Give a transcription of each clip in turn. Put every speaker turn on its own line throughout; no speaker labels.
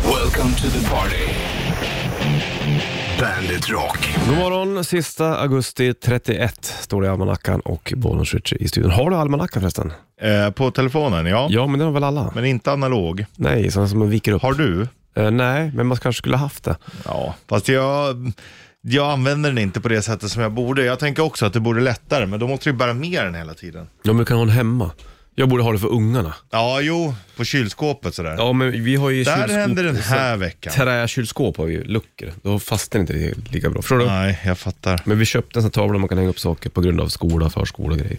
Welcome to the party. Bandit Rock.
God morgon, sista augusti 31 står det i almanackan och Bollnäs Ritchie i studion. Har du almanacka förresten?
Eh, på telefonen, ja.
Ja, men det har väl alla?
Men inte analog.
Nej, sådana som man viker upp.
Har du?
Eh, nej, men man kanske skulle haft det.
Ja, fast jag, jag använder den inte på det sättet som jag borde. Jag tänker också att det borde lättare, men då måste du ju bära med den hela tiden.
Ja, men du kan ha den hemma. Jag borde ha det för ungarna.
Ja, jo, på kylskåpet sådär.
Ja, men vi har ju
Där
kylskåp-
hände den här veckan.
Träkylskåp har vi ju, luckor. Då fastnar inte det lika bra. Förstår du?
Nej, jag fattar.
Men vi köpte en sån här tavla man kan hänga upp saker på grund av skola, förskola och grejer.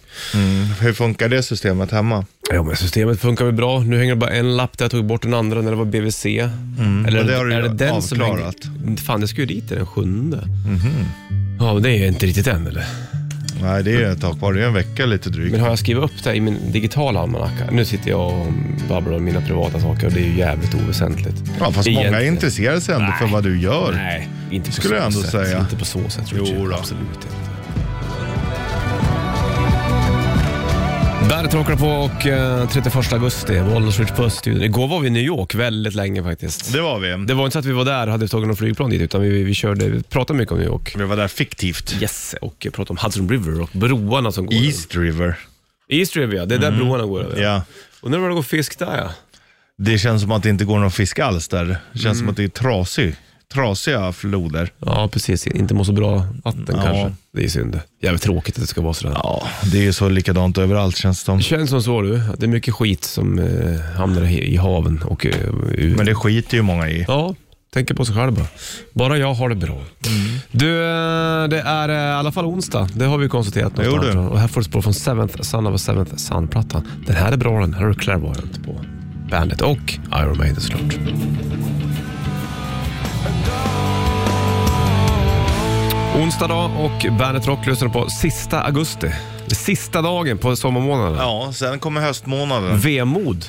Hur funkar det systemet hemma?
Ja, men systemet funkar väl bra. Nu hänger det bara en lapp där jag tog bort den andra när det var BVC. Eller
men Mm. det har du
är det
ju
den som
avklarat. Mhm.
hänger... Fan, det ska ju dit den sjunde. Ja, men det är ju inte riktigt än eller?
Nej, det är ett tag kvar. Det är en vecka lite drygt.
Men har jag skrivit upp det i min digitala almanacka? Nu sitter jag och babblar om mina privata saker och det är ju jävligt oväsentligt.
Ja, fast många
Egentligen.
intresserar sig ändå för vad du gör.
Nej, inte på
skulle
så
jag ändå
sätt.
säga.
Inte på så sätt, Richard.
Jo då.
Absolut inte. Bandet rockar på och eh, 31 augusti, Bollnäs Ritch på studion. Igår var vi i New York väldigt länge faktiskt.
Det var vi.
Det var inte så att vi var där och hade tagit någon flygplan dit, utan vi, vi körde, vi pratade mycket om New York.
Vi var där fiktivt.
Yes, och pratade om Hudson River och broarna som går
East River.
över. East River, ja. Det är där broarna går över.
Ja.
Undrar om det går fisk där, ja.
Det känns som att det inte går någon fisk alls där. Det känns
Mm.
som att det är trasig, trasiga floder.
Ja, precis. Inte mår så bra vatten
Ja.
kanske. Det är synd. Jävligt tråkigt att det ska vara sådär.
Ja, det är ju så likadant överallt känns det som.
Det känns som så du, att det är mycket skit som eh, hamnar i i haven och eh, ur.
Men det skiter ju många i.
Ja, tänker på sig själv bara. Bara jag har det bra.
Mm.
Du, eh, det är eh, i alla fall onsdag. Det har vi konstaterat
Jo,
någonstans.
du.
Och här får du spår från Seventh Son of a Seventh Son-plattan. Den här är bra den. Här har du Clairvoyant på bandet och Iron Maiden såklart. Onsdag dag och Bandet Rock lyssnar på sista augusti. Sista dagen på sommarmånaden.
Ja, sen kommer
Mm.
höstmånaden.
Vemod.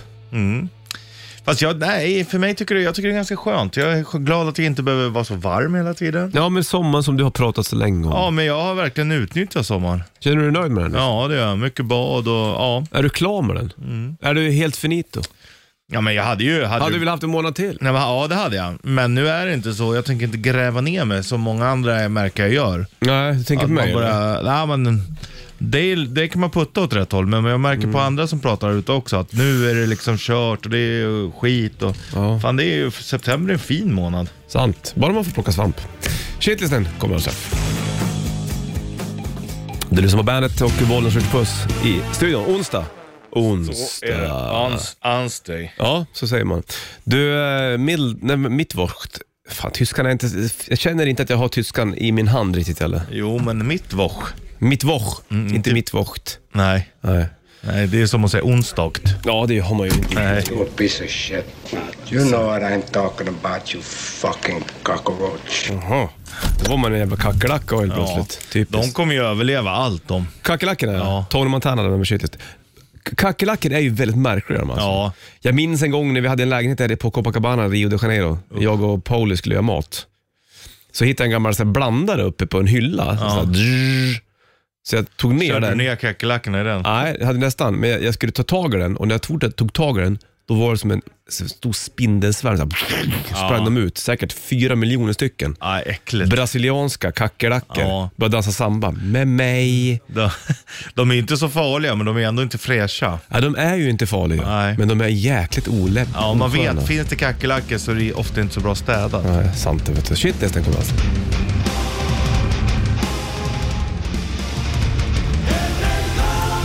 Fast jag, nej, för mig tycker det, jag tycker det är ganska skönt. Jag är glad att jag inte behöver vara så varm hela tiden.
Ja, men sommaren som du har pratat så länge om.
Ja, men jag har verkligen utnyttjat sommaren.
Känner du dig nöjd med den?
Ja, det gör jag. Mycket bad och ja.
Är du klar med den? Är du helt finito?
Ja, men jag hade ju... Hade
Hade Mm. du
ju-
velat haft en månad till?
Nej, men, ja, det hade jag. Men nu är det inte så. Jag tänker inte gräva ner mig som många andra jag märker jag gör.
Nej, du tänker
Att
på mig?
man
eller?
bara, nej, men, det, är- det kan man putta åt rätt håll, men jag märker på andra som pratar ute också att nu är det liksom kört och det är skit. Och,
Ja.
Fan, det är ju, september är en fin månad.
Sant. Bara man får plocka svamp. Shitlisten kommer alltså. Du lyssnar på bandet och Bollnäs skjuter puss i studion. Onsdag. Onsdag.
Anstey.
Ja, så säger man. Du, eh, mild, nej, men mittwocht. Fan, tyskan är inte... Jag känner inte att jag har tyskan i min hand riktigt heller.
Jo, men mitt vosch.
Mittwoch, Mm, inte mittwocht.
Nej.
Nej.
nej, det är som att säga onsdagt.
Ja, det har man ju inte.
Nej.
You a piece of shit. You know what I'm talking about, you fucking cockroach.
Jaha. Då var man en jävla kackerlacka helt plötsligt.
de
Typiskt.
kommer ju överleva allt de.
Kackerlackorna ja.
Ja.
Tony Montana där med shitet. Kackerlackor är ju väldigt märkliga de alltså.
Ja.
Jag minns en gång när vi hade en lägenhet där på Copacabana, Rio de Janeiro. Jag och Pauli skulle göra mat. Så hittade jag en gammal så här, blandare uppe på en hylla. Så, här, drrrr. så jag tog ner
Körde du
den.
ner kackerlackorna i den?
Nej, jag hade nästan. Men jag, jag skulle ta tag i den och när jag tog, tog tag i den, då var det som en så stor spindelsvärm. Så här, sprang de ut, säkert fyra miljoner stycken.
Nej, äckligt.
brasilianska kackerlackor
Ja.
började dansa samba med mig.
De, de är inte så farliga, men de är ändå inte fräscha.
Ja, de är ju inte farliga,
Nej.
men de är jäkligt olämpliga.
Ja, om man
Osköna.
vet, finns det kackerlackor så är det ofta inte så bra städat.
Nej, sant det vet du. Shit, nästan kommer alltså.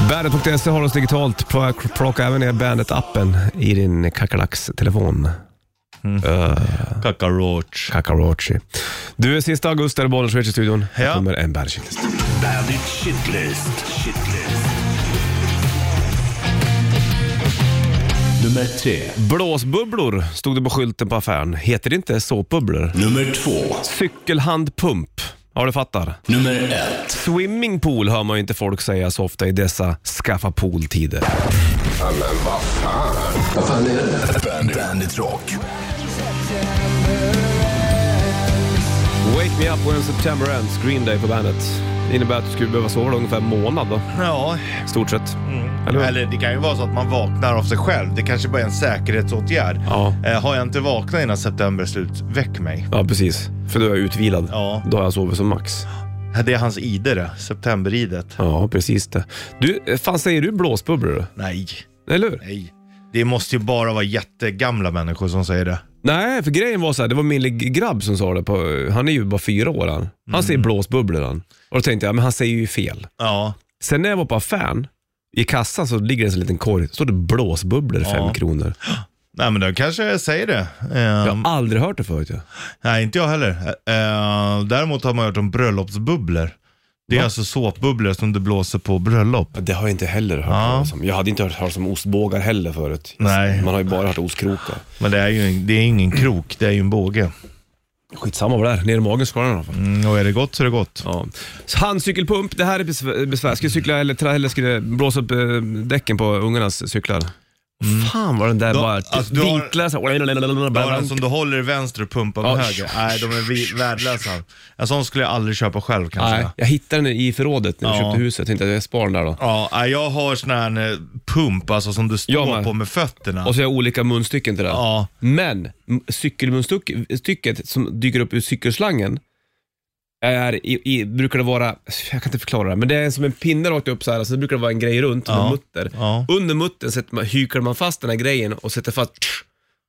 Bandet.se har oss digitalt. Pl- Plocka även ner Bandet-appen i din kackerlackstelefon.
Kakaroach.
Kakarachi. Du, sista augusti är det Bollnäs Switch i studion. Här
Ja.
kommer en bandet
Bandit Shitlist. Shitlist. Nummer tre.
Blåsbubblor stod det på skylten på affären. Heter det inte såpbubblor?
Nummer två.
Cykelhandpump. Ja, du fattar.
Nummer ett.
Swimmingpool hör man ju inte folk säga så ofta i dessa skaffa pooltider.
Vad fan är det? Bandit, Bandit Rock.
Wake me up when September ends, Green Day på bandet. Det innebär att du skulle behöva sova ungefär en månad då,
Ja,
i stort sett. Eller-
Eller det kan ju vara så att man vaknar av sig själv. Det kanske bara är en säkerhetsåtgärd.
Ja.
Eh, har jag inte vaknat innan september är slut, väck mig.
Ja, precis. För då är jag utvilad.
Ja.
Då har jag sovit som max.
Det är hans ide det, septemberidet.
Ja, precis det. Du, fan säger du blåsbubblor?
Nej,
Eller hur?
nej. Det måste ju bara vara jättegamla människor som säger det.
Nej, för grejen var så här, det var min lilla grabb som sa det. På, han är ju bara fyra år han. Han säger blåsbubblor han. Och då tänkte jag, men han säger ju fel.
Ja,
Sen när jag var på affären, i kassan så ligger det en sån liten korg. Står det blåsbubblor fem
Ja.
kronor.
nej men då kanske jag säger det.
Jag
Ehm,
har aldrig hört det förut. Ja.
Nej, inte jag heller. Ehm, däremot har man hört om bröllopsbubblor. Det är alltså såpbubblor som du blåser på bröllop.
Det har jag inte heller hört
Ja.
talas om. Jag hade inte hört talas om ostbågar heller förut.
Nej.
Man har ju bara hört ostkrokar.
Men det är ju det är ingen krok, det är ju en båge.
Skitsamma vad det är, ner i magen ska den i alla fall.
Mm, och är det gott så är det gott.
Ja. Handcykelpump, det här är besvär. besvär. Ska jag cykla eller, tra- eller ska jag blåsa upp eh, däcken på ungarnas cyklar? Fan vad den där
Då-
bara
alltså, du har-
vinklar såhär.
Bara den som du håller i vänster och pumpar med
Ja.
höger. Nej, de är vi- värdelösa. En sån skulle jag aldrig köpa själv kanske.
Nej, jag hittade den i förrådet när vi
Ja.
köpte huset. Jag tänkte att jag sparar den där då.
Ja, nej, jag har sån här eh, pump alltså, som du
Jag
står
med.
på med fötterna.
Och så har jag olika munstycken till det.
Ja.
Men m- cykelmunstycket som dyker upp ur cykelslangen är, i, i, brukar det vara, jag kan inte förklara det, men det är som en pinne rakt upp så här, så brukar det vara en grej runt med
Ja.
mutter.
Ja.
Under muttern sätter man, hyklar man fast den här grejen och sätter fast,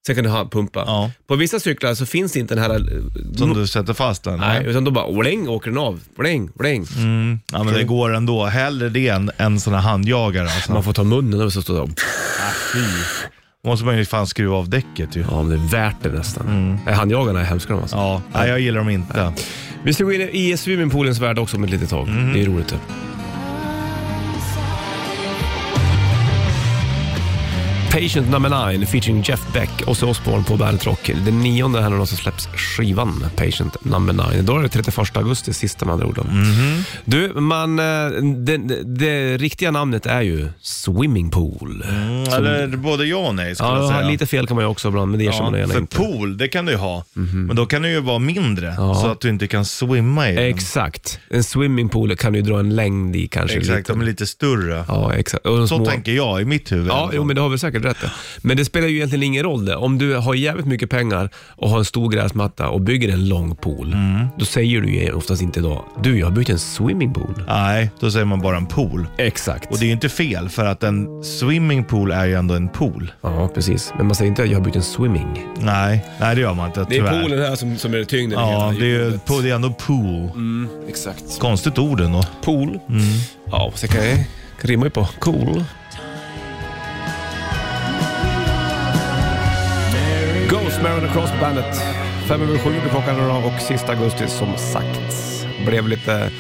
sen kan du ha pumpa.
Ja.
På vissa cyklar så finns inte den här... eh,
Som
no-
du sätter fast den?
Nej, utan då bara oläng åker den av. Oläng, oläng.
Mm. Ja, men det går ändå. Hellre det än, än såna handjagare alltså.
Man får ta munnen och så står det och-
Fy. måste man ju fan skruva av däcket ju.
Ja, men det är värt det nästan.
Mm.
Nej, Handjagarna är hemska de alltså.
Ja, nej, jag gillar dem inte.
Vi ska gå in i swimmingpoolens värld också om ett litet tag.
Mhm.
Det är roligt det. Patient number 9 featuring Jeff Beck och så Osbourne på Bandet Rock. Den nionde här nu så släpps skivan Patient number 9. Då är det 31 augusti, sista med andra ord.
Mhm.
Du, man, eh, det, det, det riktiga namnet är ju swimmingpool.
Mm, eller både ja och nej skulle jag
Ja,
säga.
lite fel kan man ju också ibland, men det erkänner man
ja,
gärna
för
inte. Mhm.
pool, det kan du ju ha. Men då kan det ju vara mindre, så att du inte kan swimma i den.
Exakt. En swimmingpool kan du ju dra en längd i kanske.
Exakt,
lite.
de är lite större.
Ja, exakt. Och de
Så
små-
tänker jag i mitt huvud. i alla
Ja,
fall.
jo, men det har vi säkert rätt i. Men det spelar ju egentligen ingen roll det. Om du har jävligt mycket pengar och har en stor gräsmatta och bygger en lång pool,
Mm.
då säger du ju oftast inte då, du jag har byggt en swimmingpool.
Nej, då säger man bara en pool.
Exakt.
Och det är ju inte fel, för att en swimmingpool är ju ändå en pool.
Ja, precis. Men man säger inte, jag har byggt en swimming.
Nej, nej det gör man inte tyvärr.
här som, som är Mm. tyngden.
Ja, det är ju po- det är ändå pool.
Exakt.
Konstigt ord ändå.
Pool. Ja, så kan jag rimma ju på cool. Ghost Maron Cross Bandet. Fem över sju blir klockan idag och sista augusti som sagt blev lite...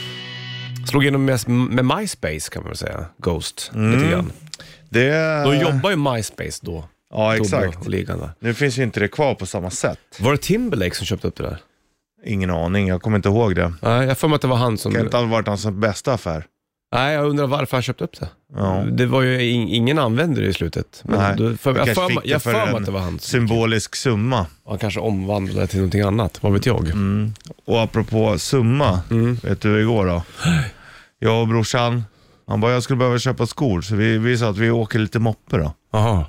Slog igenom med, med MySpace kan man väl säga, Ghost. Lite grann.
Det...
Då Mm. jobbar ju MySpace då.
Ja,
Tobbe
Eh. exakt.
och ligan där.
Nu finns ju inte det kvar på samma sätt.
Var det Timberlake som köpte upp det där?
Ingen aning, jag kommer inte ihåg det.
Nej, jag får mig att det var han som...
Kan inte ha varit hans bästa affär.
Nej, jag undrar varför han köpte upp det.
Ja.
Det var ju in, ingen använde det i slutet. Men
Nej,
då, för,
han
jag
kanske
för,
fick
mig- jag för mig
en
att det var han. som-
symbolisk summa.
Han kanske omvandlade det till någonting annat, vad vet jag.
Mm. Och apropå summa,
Mm.
vet du hur det går då? Jag och brorsan, han bara jag skulle behöva köpa skor, så vi, vi sa att vi åker lite moppe då.
Aha.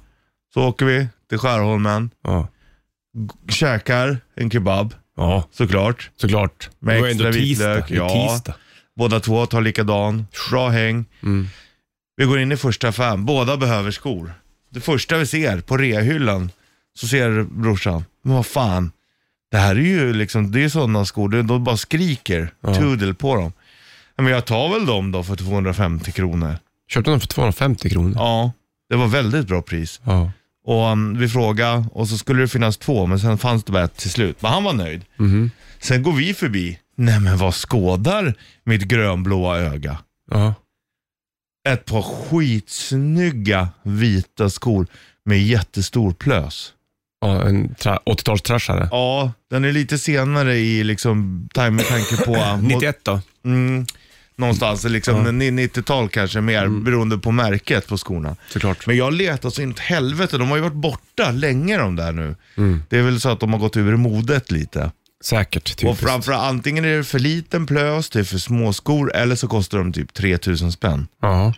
Så åker vi till Skärholmen,
Ja.
käkar en kebab
ja,
såklart.
såklart.
Med
det var ändå
extra
tisdag.
vitlök,
Det är
ja.
tisdag.
Båda två tar likadan, bra häng.
Mm.
Vi går in i första affären, båda behöver skor. Det första vi ser på reahyllan, så ser brorsan, men vad fan, det här är ju liksom, det är sådana skor, det- de bara skriker tudel på dem. Ja, Men jag tar väl dem då för 250 kronor.
Köpte den för 250 kronor?
Ja, det var väldigt bra pris.
Ja.
Och um, vi frågade och så skulle det finnas två, men sen fanns det bara ett till slut. Men han var nöjd. Sen går vi förbi, nej men vad skådar mitt grönblåa öga?
Ja.
ett par skitsnygga vita skor med jättestor plös.
ja en tra- 80-talstrashare.
Ja, den är lite senare i liksom, time med tanke på...
91 då?
Mm, någonstans, liksom 90-tal kanske mer, beroende på märket på skorna.
Såklart.
Men jag letar så in i helvete, de har ju varit borta länge de där nu.
Mm.
Det är väl så att de har gått ur modet lite.
Säkert.
Och
typiskt.
framförallt, antingen är det för liten plös, det är för små skor eller så kostar de typ 3000 spänn.
Ja.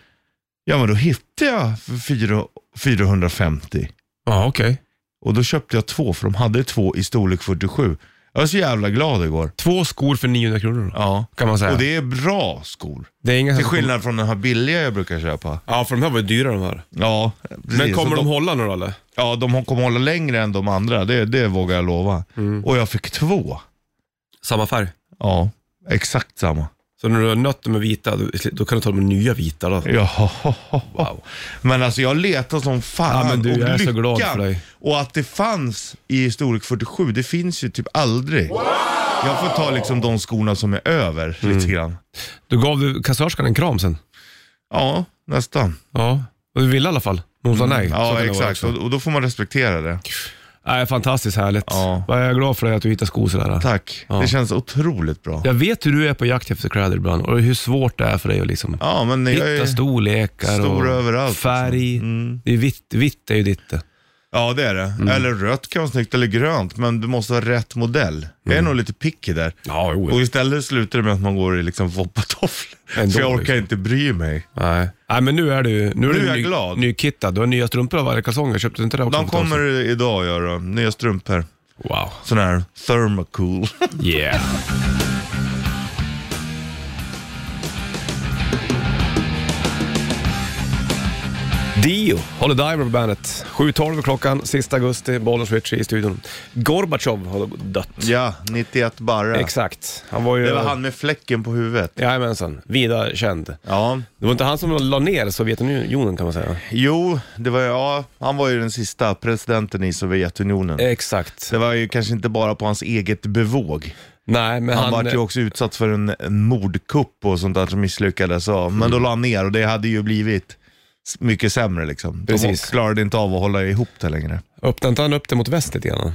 Ja, men då hittade jag för fyra- 450.
Ja, okej.
Och då köpte jag två, för de hade två i storlek 47. Jag var så jävla glad igår.
Två skor för 900 kronor då,
Ja.
kan man säga.
Och det är bra skor.
Det är inga
Till skillnad från de här billiga jag brukar köpa.
Ja, för de här var ju dyra de här.
Ja, precis.
Men
Och
kommer de hålla nu då eller?
Ja, de kommer hålla längre än de andra. Det, det vågar jag lova.
Mm.
Och jag fick två.
Samma färg?
Ja, exakt samma.
Så när du har nött dem med vita, då, då kan du ta dem med nya vita då?
Ja, Men alltså jag letar som fan
Ja, men du,
och
jag är så
lyckan.
glad för dig.
Och att det fanns i storlek 47, det finns ju typ aldrig. Jag får ta liksom de skorna som är över
Mm.
lite grann.
Du gav du kassörskan en kram sen?
Ja, nästan.
Ja. Och du ville i alla fall? Men Hon sa nej? Så kan
Mm. Ja,
det vara
exakt.
också.
Och, och då får man respektera det.
Nej, fantastiskt härligt.
Ja.
Jag är glad för dig att du hittade skor sådär.
Tack.
Ja.
Det känns otroligt bra.
Jag vet hur du är på jakt efter kläder ibland och hur svårt det är för dig att liksom
Ja, men jag
hitta
är...
storlekar
stor
och
överallt, liksom. Mm.
färg. Det är vitt, vitt är ju ditt det.
Ja, det är det.
Mm.
Eller rött kan vara snyggt, eller grönt, men du måste ha rätt modell. Jag är nog lite picky där.
Mm. Ja, jo.
Och istället slutar det med att man går i liksom foppatofflor.
Ändå,
För jag orkar
liksom.
inte bry mig.
Nej. Nej, men nu är du, nu är
Nu
du
är jag
ny,
glad.
nykittad. Du har nya strumpor av varje kalsonger. Köpte du inte det också?
De
för ett tag
kommer idag göra de. nya strumpor.
sedan? Wow.
Sån här thermocool.
Yeah. Dio, Holiday Diver på bandet. 7.12 är klockan, sista augusti, Bollen Switch i studion. Gorbachev har dött.
ja, 91 barre.
Exakt. Han var ju...
Det var han med fläcken på huvudet.
Jajamensan, vida känd.
Ja,
Det var inte han som la ner Sovjetunionen kan man säga.
jo, det var, ja, han var ju den sista presidenten i Sovjetunionen.
Eh. Exakt.
Det var ju kanske inte bara på hans eget bevåg.
Nej, men
Han,
han...
var ju också utsatt för en, en mordkupp och sånt där som misslyckades. Och, Men
Mm.
då la han ner och det hade ju blivit s- mycket sämre liksom.
Precis.
De klarade inte av att hålla ihop det längre.
Öppnade inte han upp det mot väst lite grann?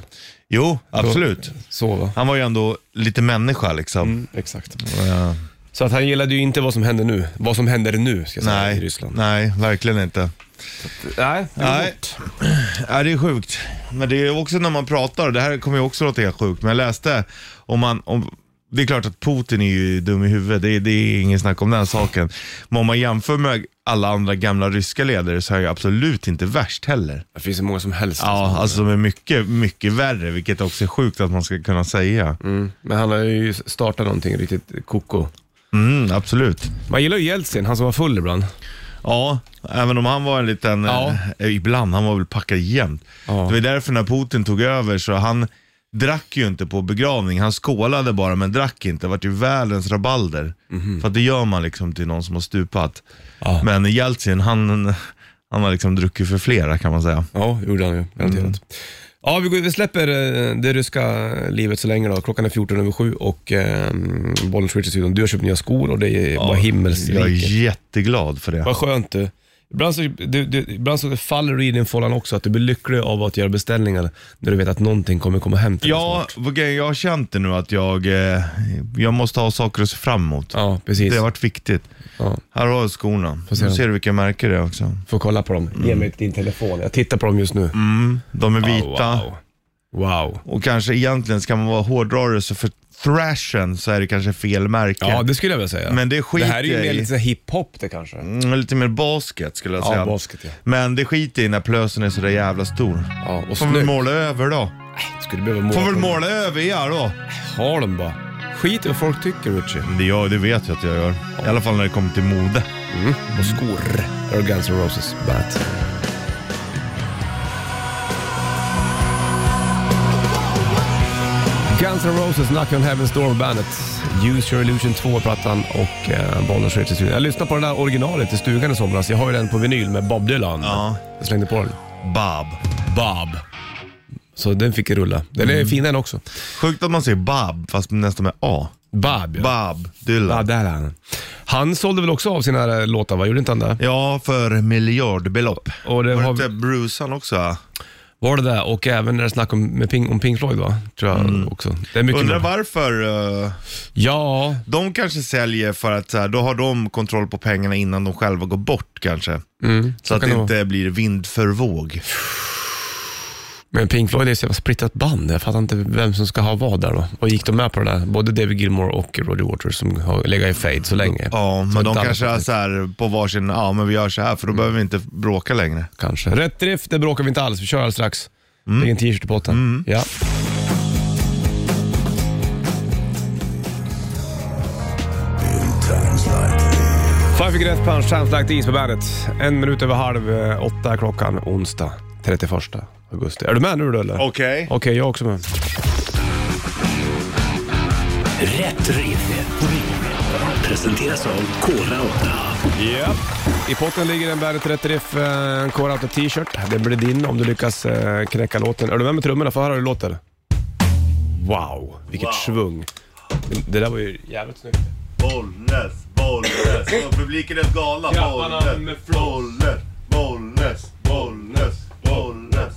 Jo, absolut.
Så va?
Han var ju ändå lite människa liksom.
Mm. Exakt.
Ja.
Så att han gillade ju inte vad som händer nu. Vad som händer nu, ska jag säga, i
Nej,
Ryssland.
nej, verkligen inte.
Nej,
Nej. Ja, det är sjukt. Men det är också när man pratar, det här kommer ju också låta helt sjukt, men jag läste om man, om, det är klart att Putin är ju dum i huvudet, det, är- det är ingen snack om den saken. Men om man jämför med alla andra gamla ryska ledare så är jag absolut inte värst heller.
Det finns ju många som helst.
Ja, alltså de är mycket, mycket värre, vilket också är sjukt att man ska kunna säga.
Mm. Men han har ju startat någonting riktigt koko.
Mm, absolut.
Man gillar ju Jeltsin, han som var full ibland.
Ja, även om han var en liten,
Ja.
eh, ibland, han var väl packad jämt.
Ja.
Det var därför när Putin tog över så han drack ju inte på begravning. Han skålade bara men drack inte. Det vart ju världens rabalder. För att det gör man liksom till någon som har stupat.
Mhm. Ja.
Men Jeltsin, han, han har liksom druckit för flera kan man säga.
Ja, gjorde han ju. Garanterat. Mm. Ja, vi, går, vi släpper eh, det ryska livet så länge då. Klockan är 14 över 7 och eh, bollen switch i studion. Du har köpt nya skor och det är bara
Jag är
himmelsriket.
jätteglad för det.
Vad skönt du. Ibland så, du, du, ibland så faller du i den fållan också, att du blir lycklig av att göra beställningar när du vet att någonting kommer komma hem till dig
Ja,
snart.
vad grejen, jag har känt det nu att jag, eh, jag måste ha saker att se fram emot.
Ja, precis.
Det har varit viktigt.
Ja.
Här har jag skorna.
se
Nu
dem.
ser du vilka märken det är också.
Får kolla på dem. Ge
Mm.
mig din telefon. Jag tittar på dem just nu.
De är vita.
Wow. wow.
Och kanske egentligen, ska man vara hårdrare, så för thrashen så är det kanske fel märke.
Ja, det skulle jag vilja säga.
Men det skiter
Det här är ju
jag
mer
i.
lite så här hiphop det kanske.
Mm, Lite mer basket skulle jag
Ja,
säga.
basket, ja.
Men det skiter i när plösen är så där jävla stor.
Ja, och
Får väl
snyggt.
måla över då.
Skulle behöva måla
Får väl
på-
måla över ja då.
Ha dem bara. Skit i vad folk tycker Richie.
Det, gör, det vet jag att jag gör. I alla fall när det kommer till mode.
Och skor. Här har Guns N' Roses på bandet. Guns N' Roses, Knock on Heaven's Door på bandet. Use Your Illusion 2-plattan och eh, Bollnäs Richie studion. Jag lyssnade på det där originalet i stugan i somras. Jag har ju den på vinyl med Bob Dylan.
Ja.
Jag slängde på den.
Bob.
Bob. Mm. Så den fick jag rulla. Den är fin den också.
Sjukt att man säger Bob fast nästan med A.
Bob ja.
Bob Dylan.
Ja, där är han. Han sålde väl också av sina eh, låtar, va? Gjorde inte han det?
Ja, för miljardbelopp.
Och det
Var det
har-
inte Bruce han också?
Var det där och även när det snackade om, med Pink, om Pink Floyd va? Tror jag också. Det är mycket
Mm. Undrar
bra.
varför. eh,
Ja,
De kanske säljer för att så här, då har de kontroll på pengarna innan de själva går bort kanske. så att
Mm. kan
det
det
inte blir vind för våg.
Men Pink Floyd är ju så jävla splittrat band. Jag fattar inte vem som ska ha vad där då. Och gick de med på det där? Både David Gilmore och Roger Waters som har legat i fade så länge.
Ja,
Så
men de
ett
kanske
annat- Mm.
är så här på varsin, ja men vi gör så här för då behöver vi inte bråka längre.
Kanske. Rätt drift, det bråkar vi inte alls. Vi kör alldeles strax.
Mm.
Lägg en t-shirt i potten. Ja. Five Finger Death Punch, Times Like These på bandet. En minut över halv eh, åtta är klockan onsdag 31 augusti. Är du med nu då eller?
Okej.
Okej, jag är också med.
Rätt riff. Presenteras av Kora 8.
Japp. I potten ligger en Bandet Rätt Riff, eh, en Core Auto t-shirt. Det blir din om du lyckas eh, knäcka låten. Är du med med trummorna? Få höra hur det låter. Wow, vilket svung. Det där var ju jävligt snyggt.
Bollnäs, Bollnäs. Och publiken är galna.
Grabbarna med
Bollnäs,
flow.
Bollnäs, Bollnäs, Bollnäs, Bollnäs.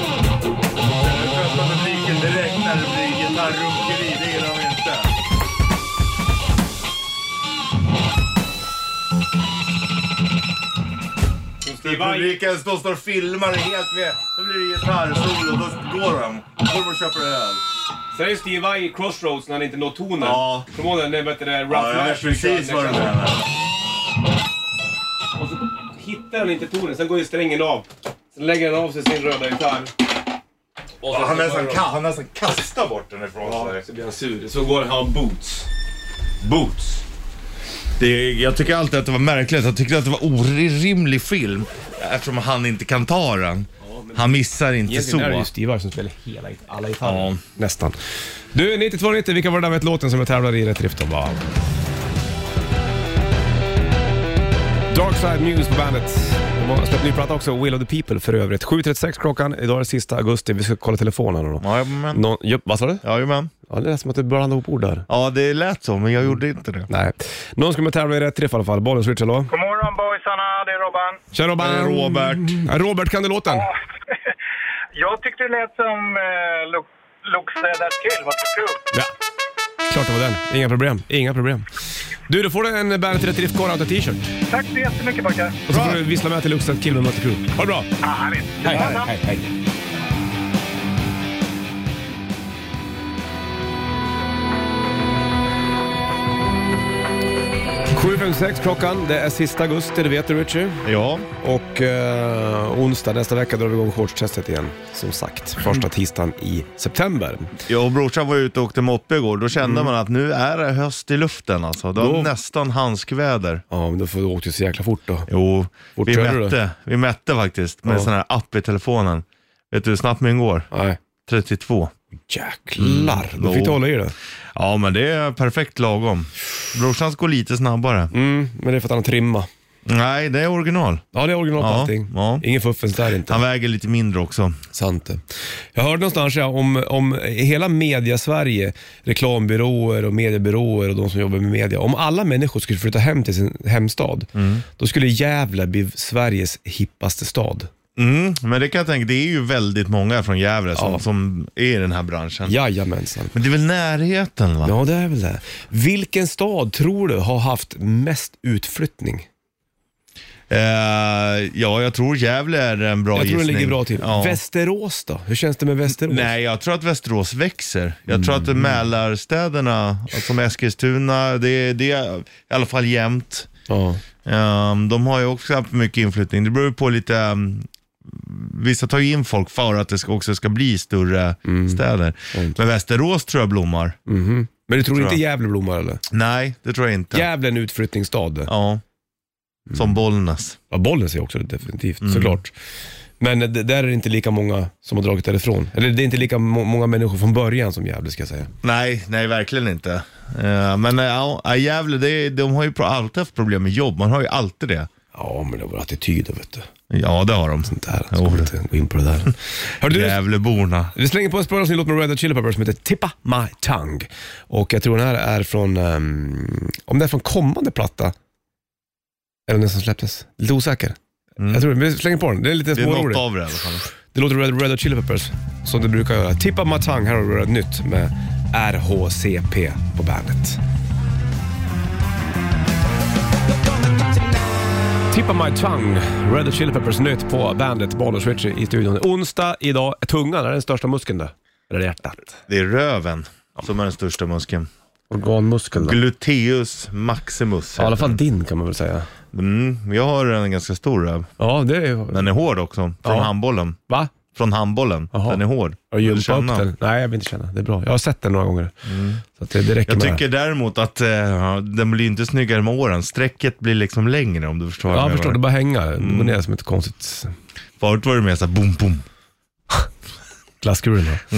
Nu sköter publiken direkt när det blir gitarrrunkeri. Det gillar de inte. Publiken står står och filmar och är helt med. Då blir det gitarrsolo. Då går de. Då går de och köper öl.
Sen är Steve Vai i Crossroads när han inte når tonen.
Ja.
Kommer du ihåg den? Vet du, Rough
Ja, jag vet precis vad du menar.
Och så hittar han inte tonen, sen går ju strängen av. Sen lägger han av sig sin röda gitarr.
Ja, Han nästan, ka- han nästan kastar bort den ifrån sig.
blir han sur. Så går han boots.
Boots.
Det, jag tycker alltid att det var märkligt. Jag tyckte att det var orimlig film eftersom han inte kan ta den. Han missar inte så.
Egentligen är det ju Steve Vai som spelar hela, alla gitarrer.
Ja.
Nästan. Du, 9290, vilka var det där med låten som jag tävlade i Rätt Riff då? Wow. Dark Side News på bandet. De har släppt ny platta också, Will of the People för övrigt. 7.36 klockan, idag är det sista augusti. Vi ska kolla telefonen då.
Jajamän.
Nå- ja, vad sa du?
Jajamän.
Ja, det är som att du blandade ihop ord där.
Ja, det lät så, men jag gjorde inte det.
Nej. Någon ska med tävla i rätt träff i alla fall. Bollen switch, hallå?
God morgon boysarna, det är Robban.
Tja Robban!
Hej, Robert.
Ja, Robert, kan du låten?
Jag tyckte det lät som eh, Lo- Loxed till. Vad tycker du?
Ja. Klart det var den. Inga problem. Inga problem. Du, då får du en Bandet Rätt Riff Core Auto t-shirt.
Tack så jättemycket pojkar.
Och så får du vissla med till Luxat Kill med Mötley Crüe. Ha det bra!
Ja, härligt.
Hej, hej, hej, hej. Sju, fem, sex klockan. Det är sista augusti, det vet du Richie.
Ja,
Och eh, onsdag nästa vecka drar vi igång shortstestet igen. Som sagt, första tisdagen i september.
jag och brorsan var ute och åkte moppe igår. Då kände man att nu är det höst i luften alltså. Det var
Mm. Då-
nästan handskväder.
Ja, men då får du åka så jäkla fort då.
Jo,
Fort
vi
körde du?
mätte, vi mätte faktiskt med
Ja.
en sån här app i telefonen. Vet du hur snabbt min går?
Nej.
32.
Jäklar, då fick du
Då-
hålla i det.
Ja, men det är perfekt lagom. Brorsans går lite snabbare.
Mm, men det är för att han har trimma.
Nej, det är original.
Ja, det är original på
Ja,
allting.
ja.
Ingen fuffens där inte.
Han väger lite mindre också.
Sant det. Jag hörde någonstans ja, om, om hela media-Sverige, reklambyråer och mediebyråer och de som jobbar med media. Om alla människor skulle flytta hem till sin hemstad,
Mm.
då skulle Gävle bli Sveriges hippaste stad.
Mm, men det kan jag tänka, det är ju väldigt många från Gävle som, som är i den här branschen.
Jajamensan.
Men det är väl närheten va?
Ja, det är väl det. Vilken stad tror du har haft mest utflyttning?
Eh, ja, jag tror Gävle är en
Jag
bra
tror den
gissning.
ligger bra till.
Ja.
Västerås då? Hur känns det med Västerås?
Nej, jag tror att Västerås växer. Jag tror att Mälarstäderna, alltså som Eskilstuna, det, det är i alla fall jämnt.
Ja.
Ehm, de har ju också haft mycket inflyttning. Det beror ju på lite... ehm, vissa tar ju in folk för att det ska, också ska bli större städer. Men Västerås tror jag blommar.
Mhm. Men du tror,
Tror
inte
jag.
Gävle blommar eller?
Nej, det tror jag inte.
Gävle är en utflyttningsstad.
Ja. Som Bollnäs. Mm.
Ja, Bollnäs är också definitivt, såklart. Men d- där är det inte lika många som har dragit därifrån. Eller det är inte lika må- många människor från början som Gävle ska jag säga.
Nej, nej verkligen inte. Eh, men eh, ja, ja, Gävle, det, de har ju pro- alltid haft problem med jobb. Man har ju alltid det.
Ja, men det var attityder vet du.
Ja, det har de.
Sånt där. Ska vi inte gå in på det där. Hör du,
Gävleborna.
vi slänger på en spårlös låt med Red Hot Chili Peppers som heter Tippa My Tongue. Och jag tror den här är från, ehm, om det är från kommande platta. Eller den som släpptes. Lite osäker. Jag tror det. Vi slänger på den. Det är lite
Mm. Det är något
småroligt.
av det i alla fall.
Det låter Red, Red Hot Chili Peppers som det brukar göra. Tippa My Tongue, här har du ett nytt med RHCP på bandet. Tippa My Tongue, Red Hot Chili Peppers nytt på bandet, Bonus Richie i studion. Onsdag idag, tungan är den största muskeln då. Eller hjärtat.
Det är röven som är den största muskeln.
Organmuskeln då.
Gluteus maximus.
Ja, I alla fall din kan man väl säga.
Mm, jag har en ganska stor röv.
Ja, det är ju...
Den är hård också. Från
Ja.
handbollen.
Va?
Från handbollen.
Jaha.
Den är hård.
Har du
Vill du
gympa upp
känna? Mm.
den? Nej, jag vill inte känna. Det är bra. Jag har sett den några gånger. Så att det, det räcker
Jag
med det.
tycker däremot att eh, ja, den blir inte snyggare med åren. Strecket blir liksom längre om du förstår vad
Ja, jag
jag
förstår. Det
menar.
bara hänga. Det
Mm.
går ner som ett konstigt
Förut var det mer såhär boom, boom.
Glasskulen då.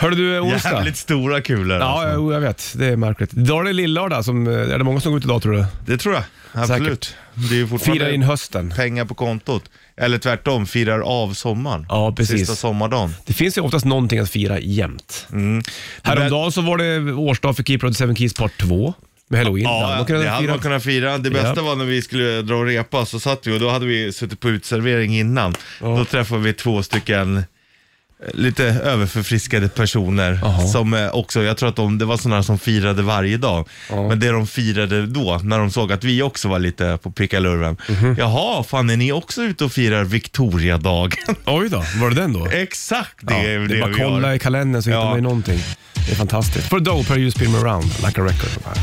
Hörde du, eh, onsdag?
Mhm. Jävligt stora kulor.
Ja,
alltså.
jo, jag vet. Det är märkligt. Idag är det lillördag. Som, eh, är det många som går ut idag tror du?
Det tror jag. Absolut. Det är ju
Firar
fortfarande
in hösten.
pengar på kontot. Eller tvärtom, firar av sommaren.
Ja, precis.
Sista sommardagen.
Det finns ju oftast någonting att fira jämt.
Mm.
Häromdagen så var det årsdag för Keeper of the Seven Keys part 2 med halloween. Då hade
Ja,
man kunnat
det hade
fira.
man kunnat fira. Det bästa var när vi skulle dra och repa, så satt vi och då hade vi suttit på utservering innan. Då träffade vi två stycken eh, lite överförfriskade personer.
Jaha.
Som eh, också, jag tror att de, det var sådana som firade varje dag. Men det de firade då, när de såg att vi också var lite på pickalurven.
Mhm.
Jaha, fan är ni också ute och firar Victoriadagen?
Oj då, var det den
Eh,
då?
Exakt det
Ja,
är det,
är bara
vi
att kolla
gör.
i kalendern så hittar
Ja.
man ju någonting. Det är fantastiskt. For Dope, här är You Spin Me Around, Like a Record på bandet.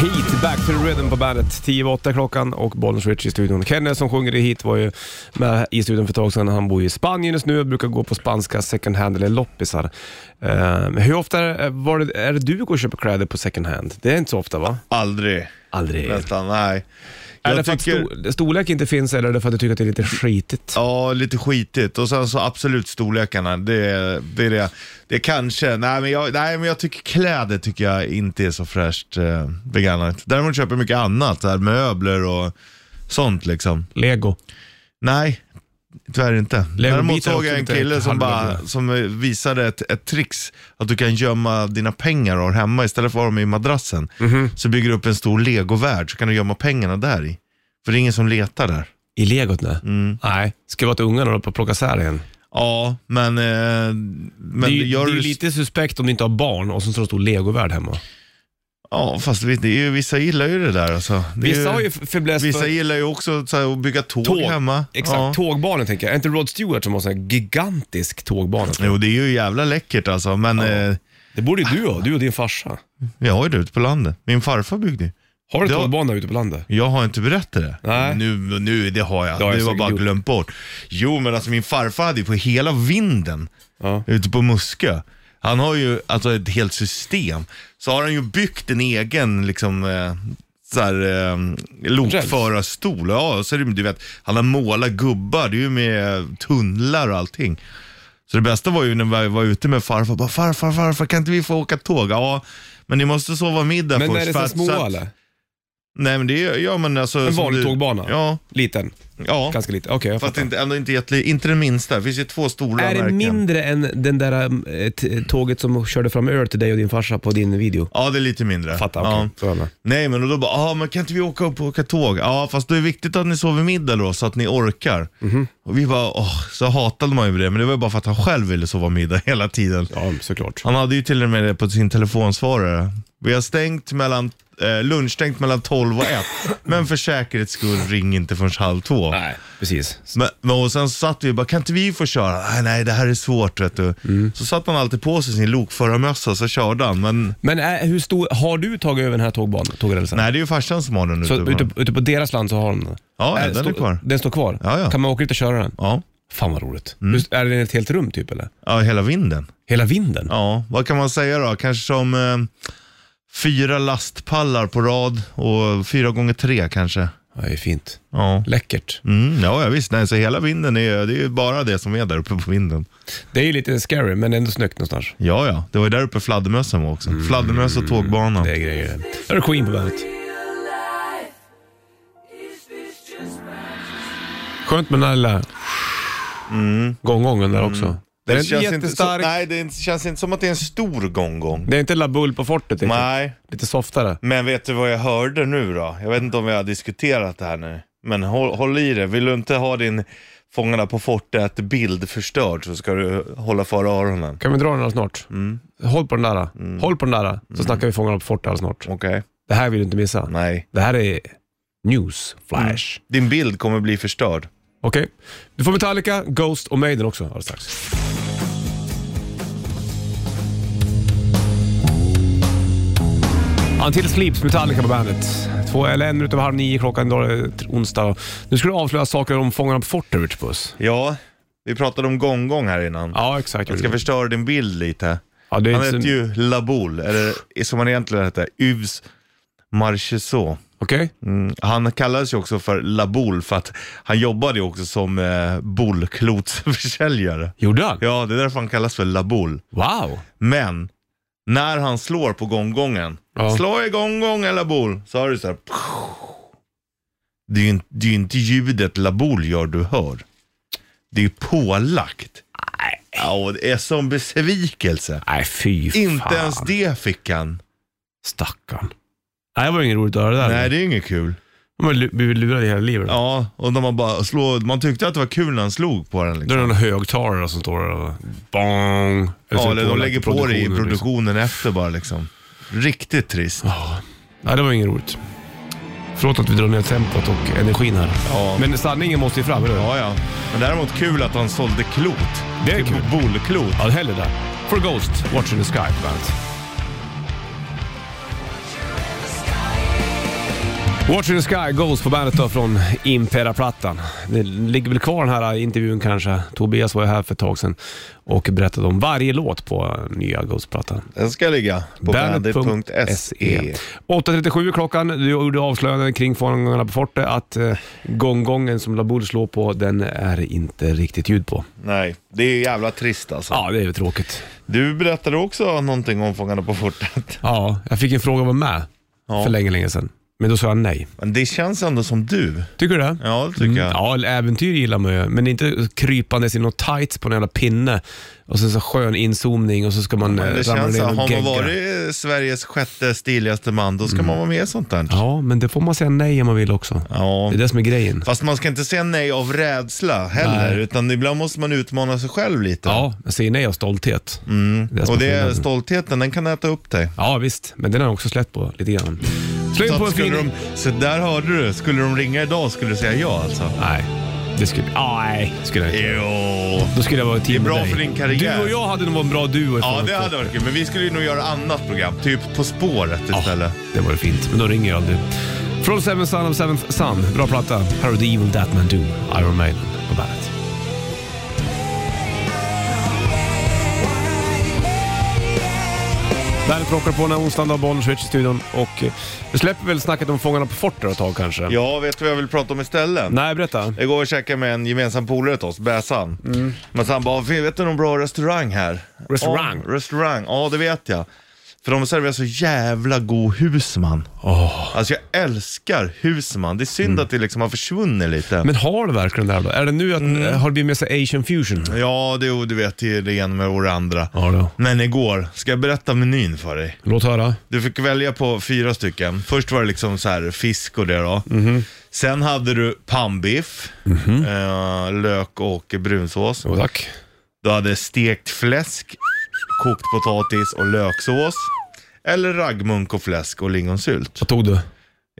Heat, Back to the Rhythm på bandet. 10 över 8 klockan och Bollnäs Rich i studion. Kenneth som sjunger i Heat var ju med i studion för ett tag sedan. Han bor ju i Spanien just nu och brukar gå på spanska second hand eller loppisar. Ehm, hur ofta är, var det, är det du går och köper kläder på second hand? Det är inte så ofta va?
Aldrig.
Aldrig.
Nästan, nej.
Är
Jag
det för att stor, storlek inte finns eller är det för att du tycker att det är lite skitigt?
Ja, lite skitigt. Och sen så absolut storlekarna. Det, är- det är det. Det är kanske, nej men, jag, nej men jag tycker kläder tycker jag inte är så fräscht eh, begagnat. Däremot köper jag mycket annat, så här, möbler och sånt liksom.
Lego.
Nej, tyvärr inte.
Legobitar
Däremot
är
såg
också
jag en
lite
kille som, bara,
halvdåliga.
som eh, visade ett, ett trix. Att du kan gömma dina pengar och hemma istället för att ha dem i madrassen.
Mhm.
Så bygger du upp en stor legovärld så kan du gömma pengarna där i. För det är ingen som letar där.
I legot nu?
Mm.
Nej. Ska vara att ungarna håller på att plocka isär igen.
Ja, men... eh, men
det är, ju-
gör
det är
du-
ju lite suspekt om du inte har barn och sen så står det en stor legovärld hemma.
Ja, fast vi- det är ju, vissa gillar ju det där alltså. Det är
Vissa har ju fäbless
Vissa
för
gillar ju också så här, att bygga tåg,
tåg.
hemma.
Exakt,
Ja.
tågbanor tänker jag. Är inte Rod Stewart som har en gigantisk tågbana?
Jo, det är ju jävla läckert alltså. Men eh,
Det borde ju du ha, du och din farsa.
vi har ju det ute på landet. Min farfar byggde ju.
Har du
Ja.
tågbana ute på landet?
Jag har inte berättat det.
Nej.
Nu, nu, det har jag.
Det har jag
det var
säkert
bara
gjort.
glömt bort. Jo, men alltså min farfar hade ju på hela vinden
Ja.
ute på Muskö. Han har ju alltså ett helt system. Så har han ju byggt en egen liksom eh, så här, eh, lokförarstol. Ja, så är det, du vet, han har målat gubbar, det är ju med tunnlar och allting. Så det bästa var ju när vi var ute med farfar, bara farfar, farfar kan inte vi få åka tåg? Ja, men ni måste sova middag
Men
först.
är det
för
så
att-
små
att-
eller?
Nej men det är, ja men alltså.
En
som
vanlig
du-
tågbana?
Ja,
Liten?
ja.
Ganska liten? Okej, jag
Fast
fattar.
inte, ändå inte, jätte, inte den minsta, det finns ju två stora
Är det
märken.
mindre än den där eh, t- tåget som körde fram öl till dig och din farsa på din video?
Ja, det är lite mindre.
Fattar,
ja.
okej. Så är det.
Nej, men och då bara, ah, men kan inte vi åka upp och åka tåg? Ja, fast det är viktigt att ni sover middag då, så att ni orkar.
Mhm.
Och vi bara, åh, så hatade man ju det, men det var ju bara för att han själv ville sova middag hela tiden.
Ja, såklart.
Han hade ju till och med det på sin telefonsvarare. Vi har stängt mellan, eh, lunchstängt mellan 12 och 1, men för säkerhets skull ring inte förrän halv två.
Nej, precis.
Men, men och sen satt vi och bara, kan inte vi få köra? Nej, nej det här är svårt vet du. Så satt han alltid på sig sin lokförarmössa så körde han. Men
Men är, hur stor, har du tagit över den här tågbanan, tågrälsen?
nej, det är ju farsan som har den
Så
ute.
ute,
på-
ute på deras land så har de den?
Ja,
Är-
den är
stå-
kvar.
Den står kvar?
Ja, ja.
Kan man åka dit och köra den?
Ja. Mm.
Fan vad roligt. Just, är den ett helt rum typ eller?
ja, hela vinden.
Hela vinden?
Ja, vad kan man säga då? Kanske som eh, fyra lastpallar på rad och fyra gånger tre kanske.
Ja, det är fint.
Ja.
Läckert.
Mm, ja, ja, visst. Nej, så hela vinden är, det är ju bara det som är där uppe på vinden.
Det är ju lite scary, men ändå snyggt någonstans.
Ja, ja. Det var ju där uppe fladdermössen var också. Fladdermöss och tågbanan.
Det är grejer det. Där är Queen på bandet. Skönt med den här lilla
Mm.
gånggången där också. Det är inte
inte
jättestark.
så, nej, det är inte- känns inte som att det är en stor gånggång.
Det är inte La Bull på fortet. Liksom.
Nej,
Lite softare.
men vet du vad jag hörde nu då? Jag vet inte om vi har diskuterat det här nu. Men håll, håll i det. Vill du inte ha din Fångarna på fortet-bild förstörd så ska du hålla för öronen.
Kan vi dra den här snart?
Mm.
Håll på den där. Håll på den där, så snackar vi Fångarna på fortet alldeles snart.
Okej?
Det här vill du inte missa.
Nej.
Det här är news flash.
Din bild kommer bli förstörd.
Okej. Du får Metallica, Ghost och Maiden också alldeles strax. Until Sleeps, Metallica på bandet. Två eller en minut över halv nio klockan idag, är det onsdag. Nu ska du avslöja saker om Fångarna på fortet, Rich Puss.
Ja, vi pratade om gånggång här innan.
Ja, exakt.
Jag ska förstöra din bild lite.
ja, det är
Han
inte
heter
så-
ju Laboul, eller som han egentligen heter, Yves Marchesot.
Okej?
Mm. Han kallades ju också för Laboul för att han jobbade ju också som eh, bollklotsförsäljare.
Gjorde han?
Ja, det är därför han kallas för Laboul.
Wow!
Men när han slår på gonggongen,
Ja.
slå i gonggongen Laboul, så hör du så här. Det är ju inte, det är ju inte ljudet Laboul gör du hör. Det är pålagt. Ja, och det är som besvikelse.
Nej, fy fan.
Inte ens det fick han.
Stackarn. Nej, det var inget roligt att höra det där.
Nej, det är inget kul.
De har lu- blivit lurade i hela livet.
Ja, och när man bara slår, man tyckte att det var kul när han slog på den
Då är
liksom.
det någon högtalare som står där och bong.
Ja, eller de lägger på det i
liksom.
produktionen efter bara liksom. Riktigt trist.
Nej, det var inget roligt. Förlåt att vi drar ner tempot och energin här.
Ja.
Men sanningen måste ju fram, eller hur?
Ja, ja. Men däremot kul att han sålde klot.
Det är
Typ
kul.
Bollklot.
Ja, hellre det. For Ghost, Watching the Sky på bandet. Watching the Sky, Ghost på bandet då från Impera-plattan. Det ligger väl kvar den här intervjun kanske. Tobias var ju här för ett tag sedan och berättade om varje låt på nya Ghost-plattan.
Den ska ligga på
E.
bandit.se.
8.37 klockan. Du gjorde avslöjanden kring Fångarna på fortet att eh, gonggongen som Laboul slår på, den är inte riktigt ljud på.
Nej, det är jävla trist alltså.
Ja, det är ju tråkigt.
Du berättade också någonting om Fångarna på fortet.
Ja, jag fick en fråga om att vara med
Ja.
för länge, länge sedan. Men då sa jag nej.
Men det känns ändå som du. Mm.
Tycker du det? Mm.
Ja, det tycker jag.
Ja, äventyr gillar man ju, men inte krypandes i något tights på en jävla pinne och sen så skön inzoomning och så ska man eh,
Men det
ramla
känns så,
ner
har
och
man
gegga.
varit Sveriges sjätte stiligaste man, då ska man vara med i sånt där.
Mm. Ja, men det får man säga nej om man vill också.
Ja.
Det är det som är grejen.
Fast man ska inte säga nej av rädsla heller,
Nej.
utan ibland måste man utmana sig själv lite.
Ja, jag säger nej av stolthet. Det är som
Mm. Och det
är
är
skillnaden.
stoltheten, den kan äta upp dig.
Ja visst, men den har jag också släppt på lite grann. Slå in
Så,
på
att
en fin...
skulle de, så där hörde du, skulle de ringa idag skulle du säga ja alltså?
Nej, det skulle... Nej, skulle jag inte.
Jo.
Då skulle jag vara team
Det är bra
med dig.
för din karriär.
Du och jag hade nog varit en bra duo i
Ja
Fångarna
det
på
hade varit kul, men vi skulle ju nog göra annat program, typ På spåret istället.
Det var fint, men då ringer jag aldrig. From Seven Son of Seventh Son, bra platta. Här har The Evil That Man Do, Iron Maiden på bandet. Bandet rockar på den här onsdagen, då, Bollnäs Rich i studion. Och eh, vi släpper väl snacket om Fångarna på fortet ett tag kanske?
Ja, vet du vad jag vill prata om istället?
Nej, berätta.
Jag går och käkade med en gemensam polare till oss, Bäsan.
Mm.
Men så han bara, vet du någon bra restaurang här?
Restaurang?
Ja, restaurang, ja det vet jag. För de serverar så jävla god husman. Alltså jag älskar husman. Det är synd
Mm.
att det liksom har försvunnit lite.
Men har det verkligen det här då? Är det nu att, eh, har det blivit med sig asian fusion?
Ja, det, du vet, det är det ena med det andra.
Ja då.
Men igår, ska jag berätta menyn för dig?
Låt höra.
Du fick välja på fyra stycken. Först var det liksom så här fisk och det då.
Mhm.
Sen hade du pannbiff, eh, lök och brunsås.
Jo tack.
Du hade stekt fläsk, kokt potatis och löksås. Eller raggmunk och fläsk och lingonsylt.
Vad tog du?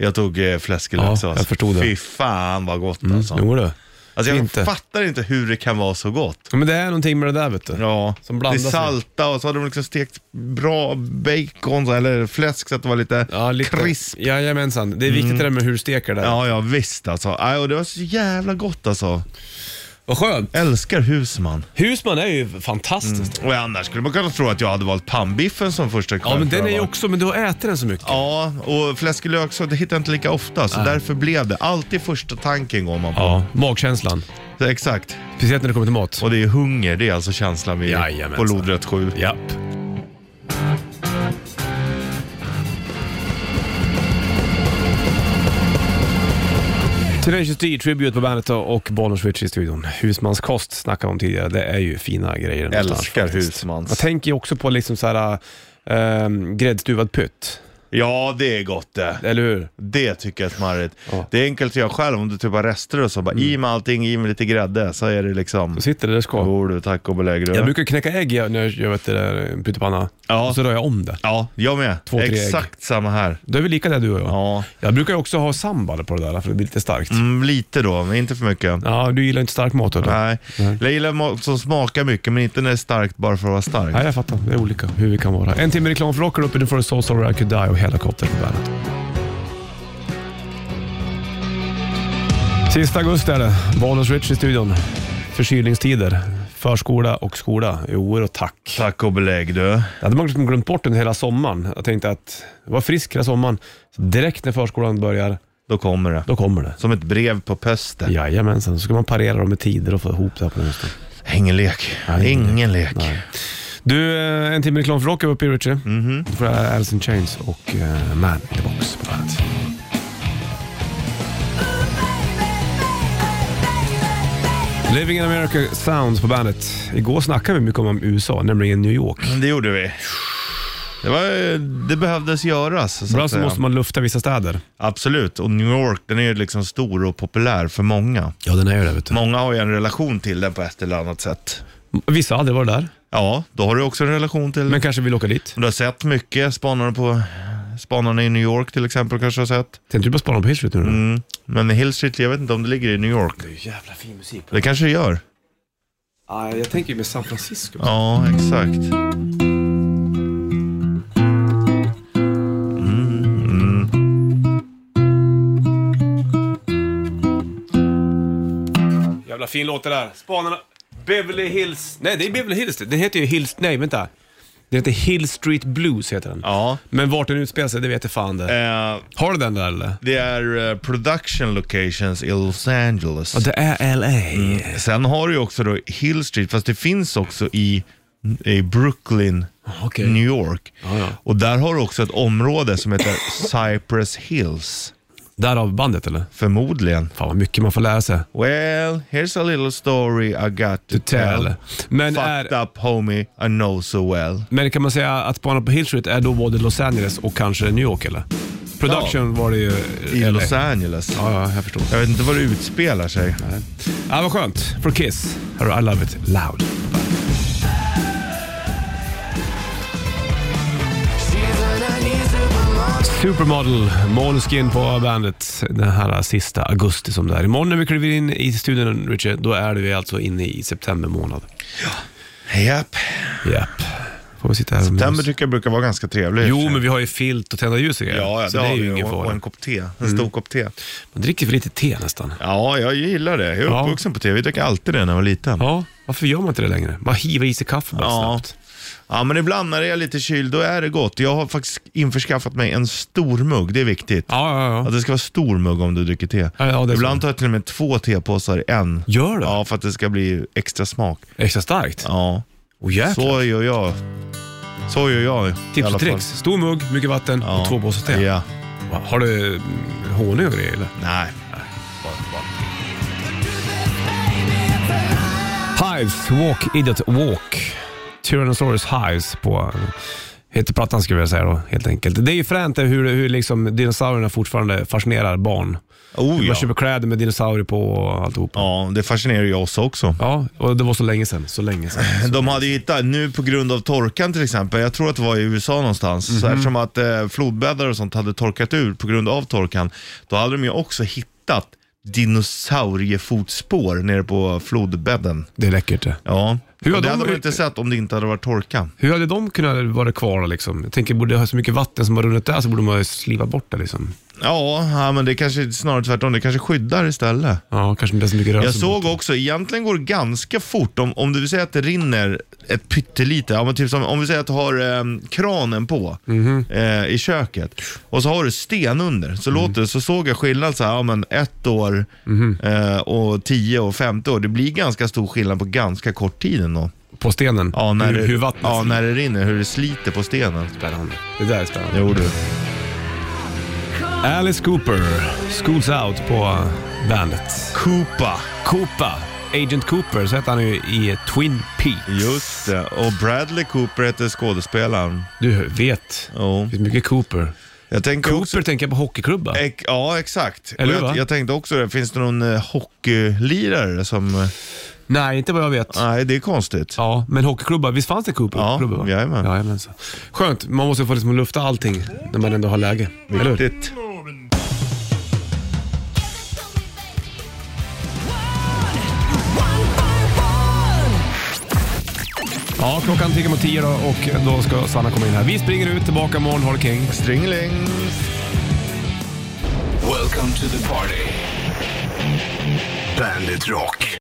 Jag tog eh, fläsk och
Ja,
löksås.
jag förstod det. Mm.
Fy fan vad gott alltså.
Jo du.
alltså jag
inte.
fattar inte hur det kan vara så gott.
Ja, men det är någonting med det där vet du.
Ja,
Som blandas
det är salta och så hade de liksom stekt bra bacon så- eller fläsk så att det var lite,
Ja, lite.
krisp. Mm.
Jajamensan. Det är viktigt det där med hur du steker det.
Ja, ja visst alltså. Aj, och det var så jävla gott alltså.
Vad skönt.
Älskar Husman.
Husman är ju fantastiskt.
Och annars skulle man kunna tro att jag hade valt pannbiffen som första kväll.
Ja, men
för
den
att
är ju
vara-
också, men du har ätit den så mycket.
Ja, och fläsklök så det hittar jag inte lika ofta, så därför blev det. Alltid första tanken går man på.
Ja, magkänslan.
Så Exakt.
Speciellt när det kommer till mat.
Och det är hunger, det är alltså känslan vi på
Jajamensan.
lodrätt 7.
Japp. Tenacious D, Tribute på bandet och Bonniers Switch i studion. Husmanskost snackade vi om tidigare, det är ju fina grejer. någonstans
Älskar
faktiskt.
husmans.
Jag tänker ju också på liksom så här ehm, gräddstuvad pytt,
Ja, det är gott det.
eller hur?
Det tycker jag är smarrigt.
Ja. Mm.
Det är enkelt att göra själv om du typ har rester och så. Bara i med allting, i med lite grädde. Så är det liksom.
Då sitter det där det ska.
Bor du, tack och belägg du.
Jag brukar knäcka ägg jag- när jag gör vet, det där, eh, pyttipanna,
Ja.
och så rör jag om det.
Ja, jag med.
Två, tre ägg.
Exakt samma här.
Då är vi lika där du och jag.
Ja.
Jag brukar ju också ha sambal på det där, för det blir lite starkt.
Mm, lite då, men inte för mycket.
Ja, du gillar inte stark mat eller?
Nej. Jag gillar mat som smakar mycket, men inte när det är starkt bara för att vara starkt.
Nej, jag fattar. Det är olika hur vi kan vara. En timme reklam för Rocker uppe. Nu får du Soul Sorrow I Could Die och Helicopter på bandet. Sista augusti är det. Bonus Rich i studion. Förkylningstider. Förskola och skola. Jo och tack.
Tack och belägg du.
Det hade man liksom glömt bort under hela sommaren. Jag tänkte att jag var frisk hela sommaren. Så direkt när förskolan börjar,
Då kommer det.
då kommer det.
Som ett brev på pösten.
Jajamensan, så ska man parera dem med tider och få ihop det här på något sätt.
Ingen lek.
Nej, ingen
Ingen lek.
Du, eh, en timme reklam för rock är uppe i Richie. Mm-hmm. Då får jag Alice in Chains och eh, Man in the Box på bandet. Living in America Sound på bandet. Igår snackade vi mycket om USA, nämligen New York.
Det gjorde vi. Det, var, det behövdes göras. Så att
Ibland så
säga.
måste man lufta vissa städer.
Absolut. Och New York, den är ju liksom stor och populär för många.
Ja, den är ju det. Vet
Många har ju en relation till den på ett eller annat sätt.
Vissa har aldrig varit där,
Ja, då har du också en relation till
men kanske vill åka dit.
Om Du har sett mycket, spanarna på spanarna i New York till exempel kanske har sett.
Tänkte du bara spana på Hill Street nu då?
Mm. Men Hill Street, jag vet inte om det ligger i New York.
Det är ju jävla fin musik.
Det kanske det gör.
Ah, jag tänker ju med San Francisco.
Ja, exakt.
Jävla fin låt det där. Spanarna. Beverly Hills. Nej, det är Beverly Hills. Den heter ju Hills... Nej, vänta. Den heter Hill Street Blues heter den.
Ja.
Men vart den utspelar sig, det vet jag fan det.
Eh,
Har du den där eller?
det är eh, production locations i Los Angeles.
Ja, det är LA.
Sen har du ju också då Hill Street, fast det finns också i, i Brooklyn,
Ah, okej.
New York.
ja.
Och där har du också ett område som heter Cypress Hills,
Därav bandet eller?
förmodligen.
Fan vad mycket man får lära sig.
Well, here's a little story I got to,
To tell. Men,
Fucked
är,
up homie, I know so well.
men kan man säga att spana på Hill Street är då både Los Angeles och kanske New York eller? Production var det ju
I
LA.
Los Angeles.
Ja, ja, jag förstår.
Jag vet inte var det utspelar sig.
Ja, vad skönt. For Kiss. Här har du I Love It Loud. Supermodel, Måneskin på bandet den här sista augusti som det är. Imorgon när vi kliver in i studion, Richard, då är vi alltså inne i september månad.
Japp.
Japp. Får vi sitta här med
Den
oss.
tycker jag brukar vara ganska trevlig.
Jo, men vi har ju filt och tända ljus och grejer,
Ja, ja,
så
det,
det
har
är
vi
ju
ju.
ingen
Och, och
fara. Mm.
en kopp te. En stor kopp te.
Man dricker för lite te nästan.
Ja, jag gillar det. Jag
Ja.
är uppvuxen på te. Vi drack alltid det när jag var liten.
Ja, varför gör man inte det längre? Bara hiva i sig kaffe bara
Ja.
snabbt.
Ja, men ibland när det är lite kyld, då är det gott. Jag har faktiskt införskaffat mig en stor mugg. Det är viktigt.
Ja, ja,
Att
ja.
det ska vara stor mugg om du dricker te.
Ja, ja, det är
ibland
så.
tar jag till och med två tepåsar i en.
Gör det?
Ja, för att det ska bli extra smak.
Extra starkt.
Ja,
Åh jäklar.
så gör jag. Så gör jag. i
Tips
alla
och
fall.
tricks. Stor mugg, mycket vatten
Ja.
och två påsar te.
Ja.
Va, Har du mm, honung och grejer eller?
Nej.
Hives, Walk Idiot Walk. Tyrannosaurus Hives på heter plattan skulle jag vilja säga då, helt enkelt. Det är ju fränt hur, hur liksom dinosaurierna fortfarande fascinerar barn.
Oh,
Man
ja.
köper kläder med dinosaurier på och alltihopa. Ja.
ja, det fascinerar ju oss också.
ja, och det var så länge sedan. Så länge sedan.
De hade ju hittat, nu på grund av torkan till exempel, jag tror att det var i USA någonstans,
Mhm.
så eftersom att eh, flodbäddar och sånt hade torkat ur på grund av torkan, då hade de ju också hittat dinosauriefotspår nere på flodbädden.
Det är läckert det.
Ja,
Hur har
Och det
de-
hade man inte sett om det inte hade varit torka.
Hur hade de kunnat vara kvar liksom? Jag tänker, borde det ha så mycket vatten som har runnit där så borde man ha slivat bort det liksom.
Ja, ja, men det kanske snarare tvärtom. Det kanske skyddar istället.
Ja, kanske inte så mycket rörelse.
Jag såg
mot det.
också, egentligen går det ganska fort om, om du vill säga att det rinner ett pyttelite, ja, men typ som, om vi säger att du har eh, kranen på
Mhm.
eh, i köket och så har du sten under, så låter det, så såg jag skillnad så här, ja, men ett år
Mhm.
eh, och tio och femte år, det blir ganska stor skillnad på ganska kort tid ändå.
På stenen?
Ja, när
hur,
det,
hur vattnet
ja, när det rinner, hur det sliter på stenen.
Spännande. Det där är spännande.
Jo du.
Alice Cooper, Schools Out på bandet.
Koopa.
Koopa, Agent Cooper, så heter han ju i Twin Peaks.
Just det, och Bradley Cooper heter skådespelaren.
Du vet,
Jo.
det finns mycket Cooper.
Jag tänker
Cooper
också...
tänker jag på hockeyklubba.
Ek, ja, exakt.
Eller
Och
hur, va?
jag, jag tänkte också det. Finns det någon eh, hockeylirare som... eh,
Nej, inte vad jag vet.
Nej, det är konstigt.
Ja, men hockeyklubba, visst fanns det Cooper?
Ja,
klubbar, va?
jajamän.
Jajamensan. Skönt, man måste få liksom lufta allting när man ändå har läge. Eller hur?
Viktigt.
Ja, klockan tickar mot tio då och då ska Sanna komma in här. Vi springer ut, tillbaka imorgon, ha det king.
Stringeling.
Welcome to the party. Bandit Rock.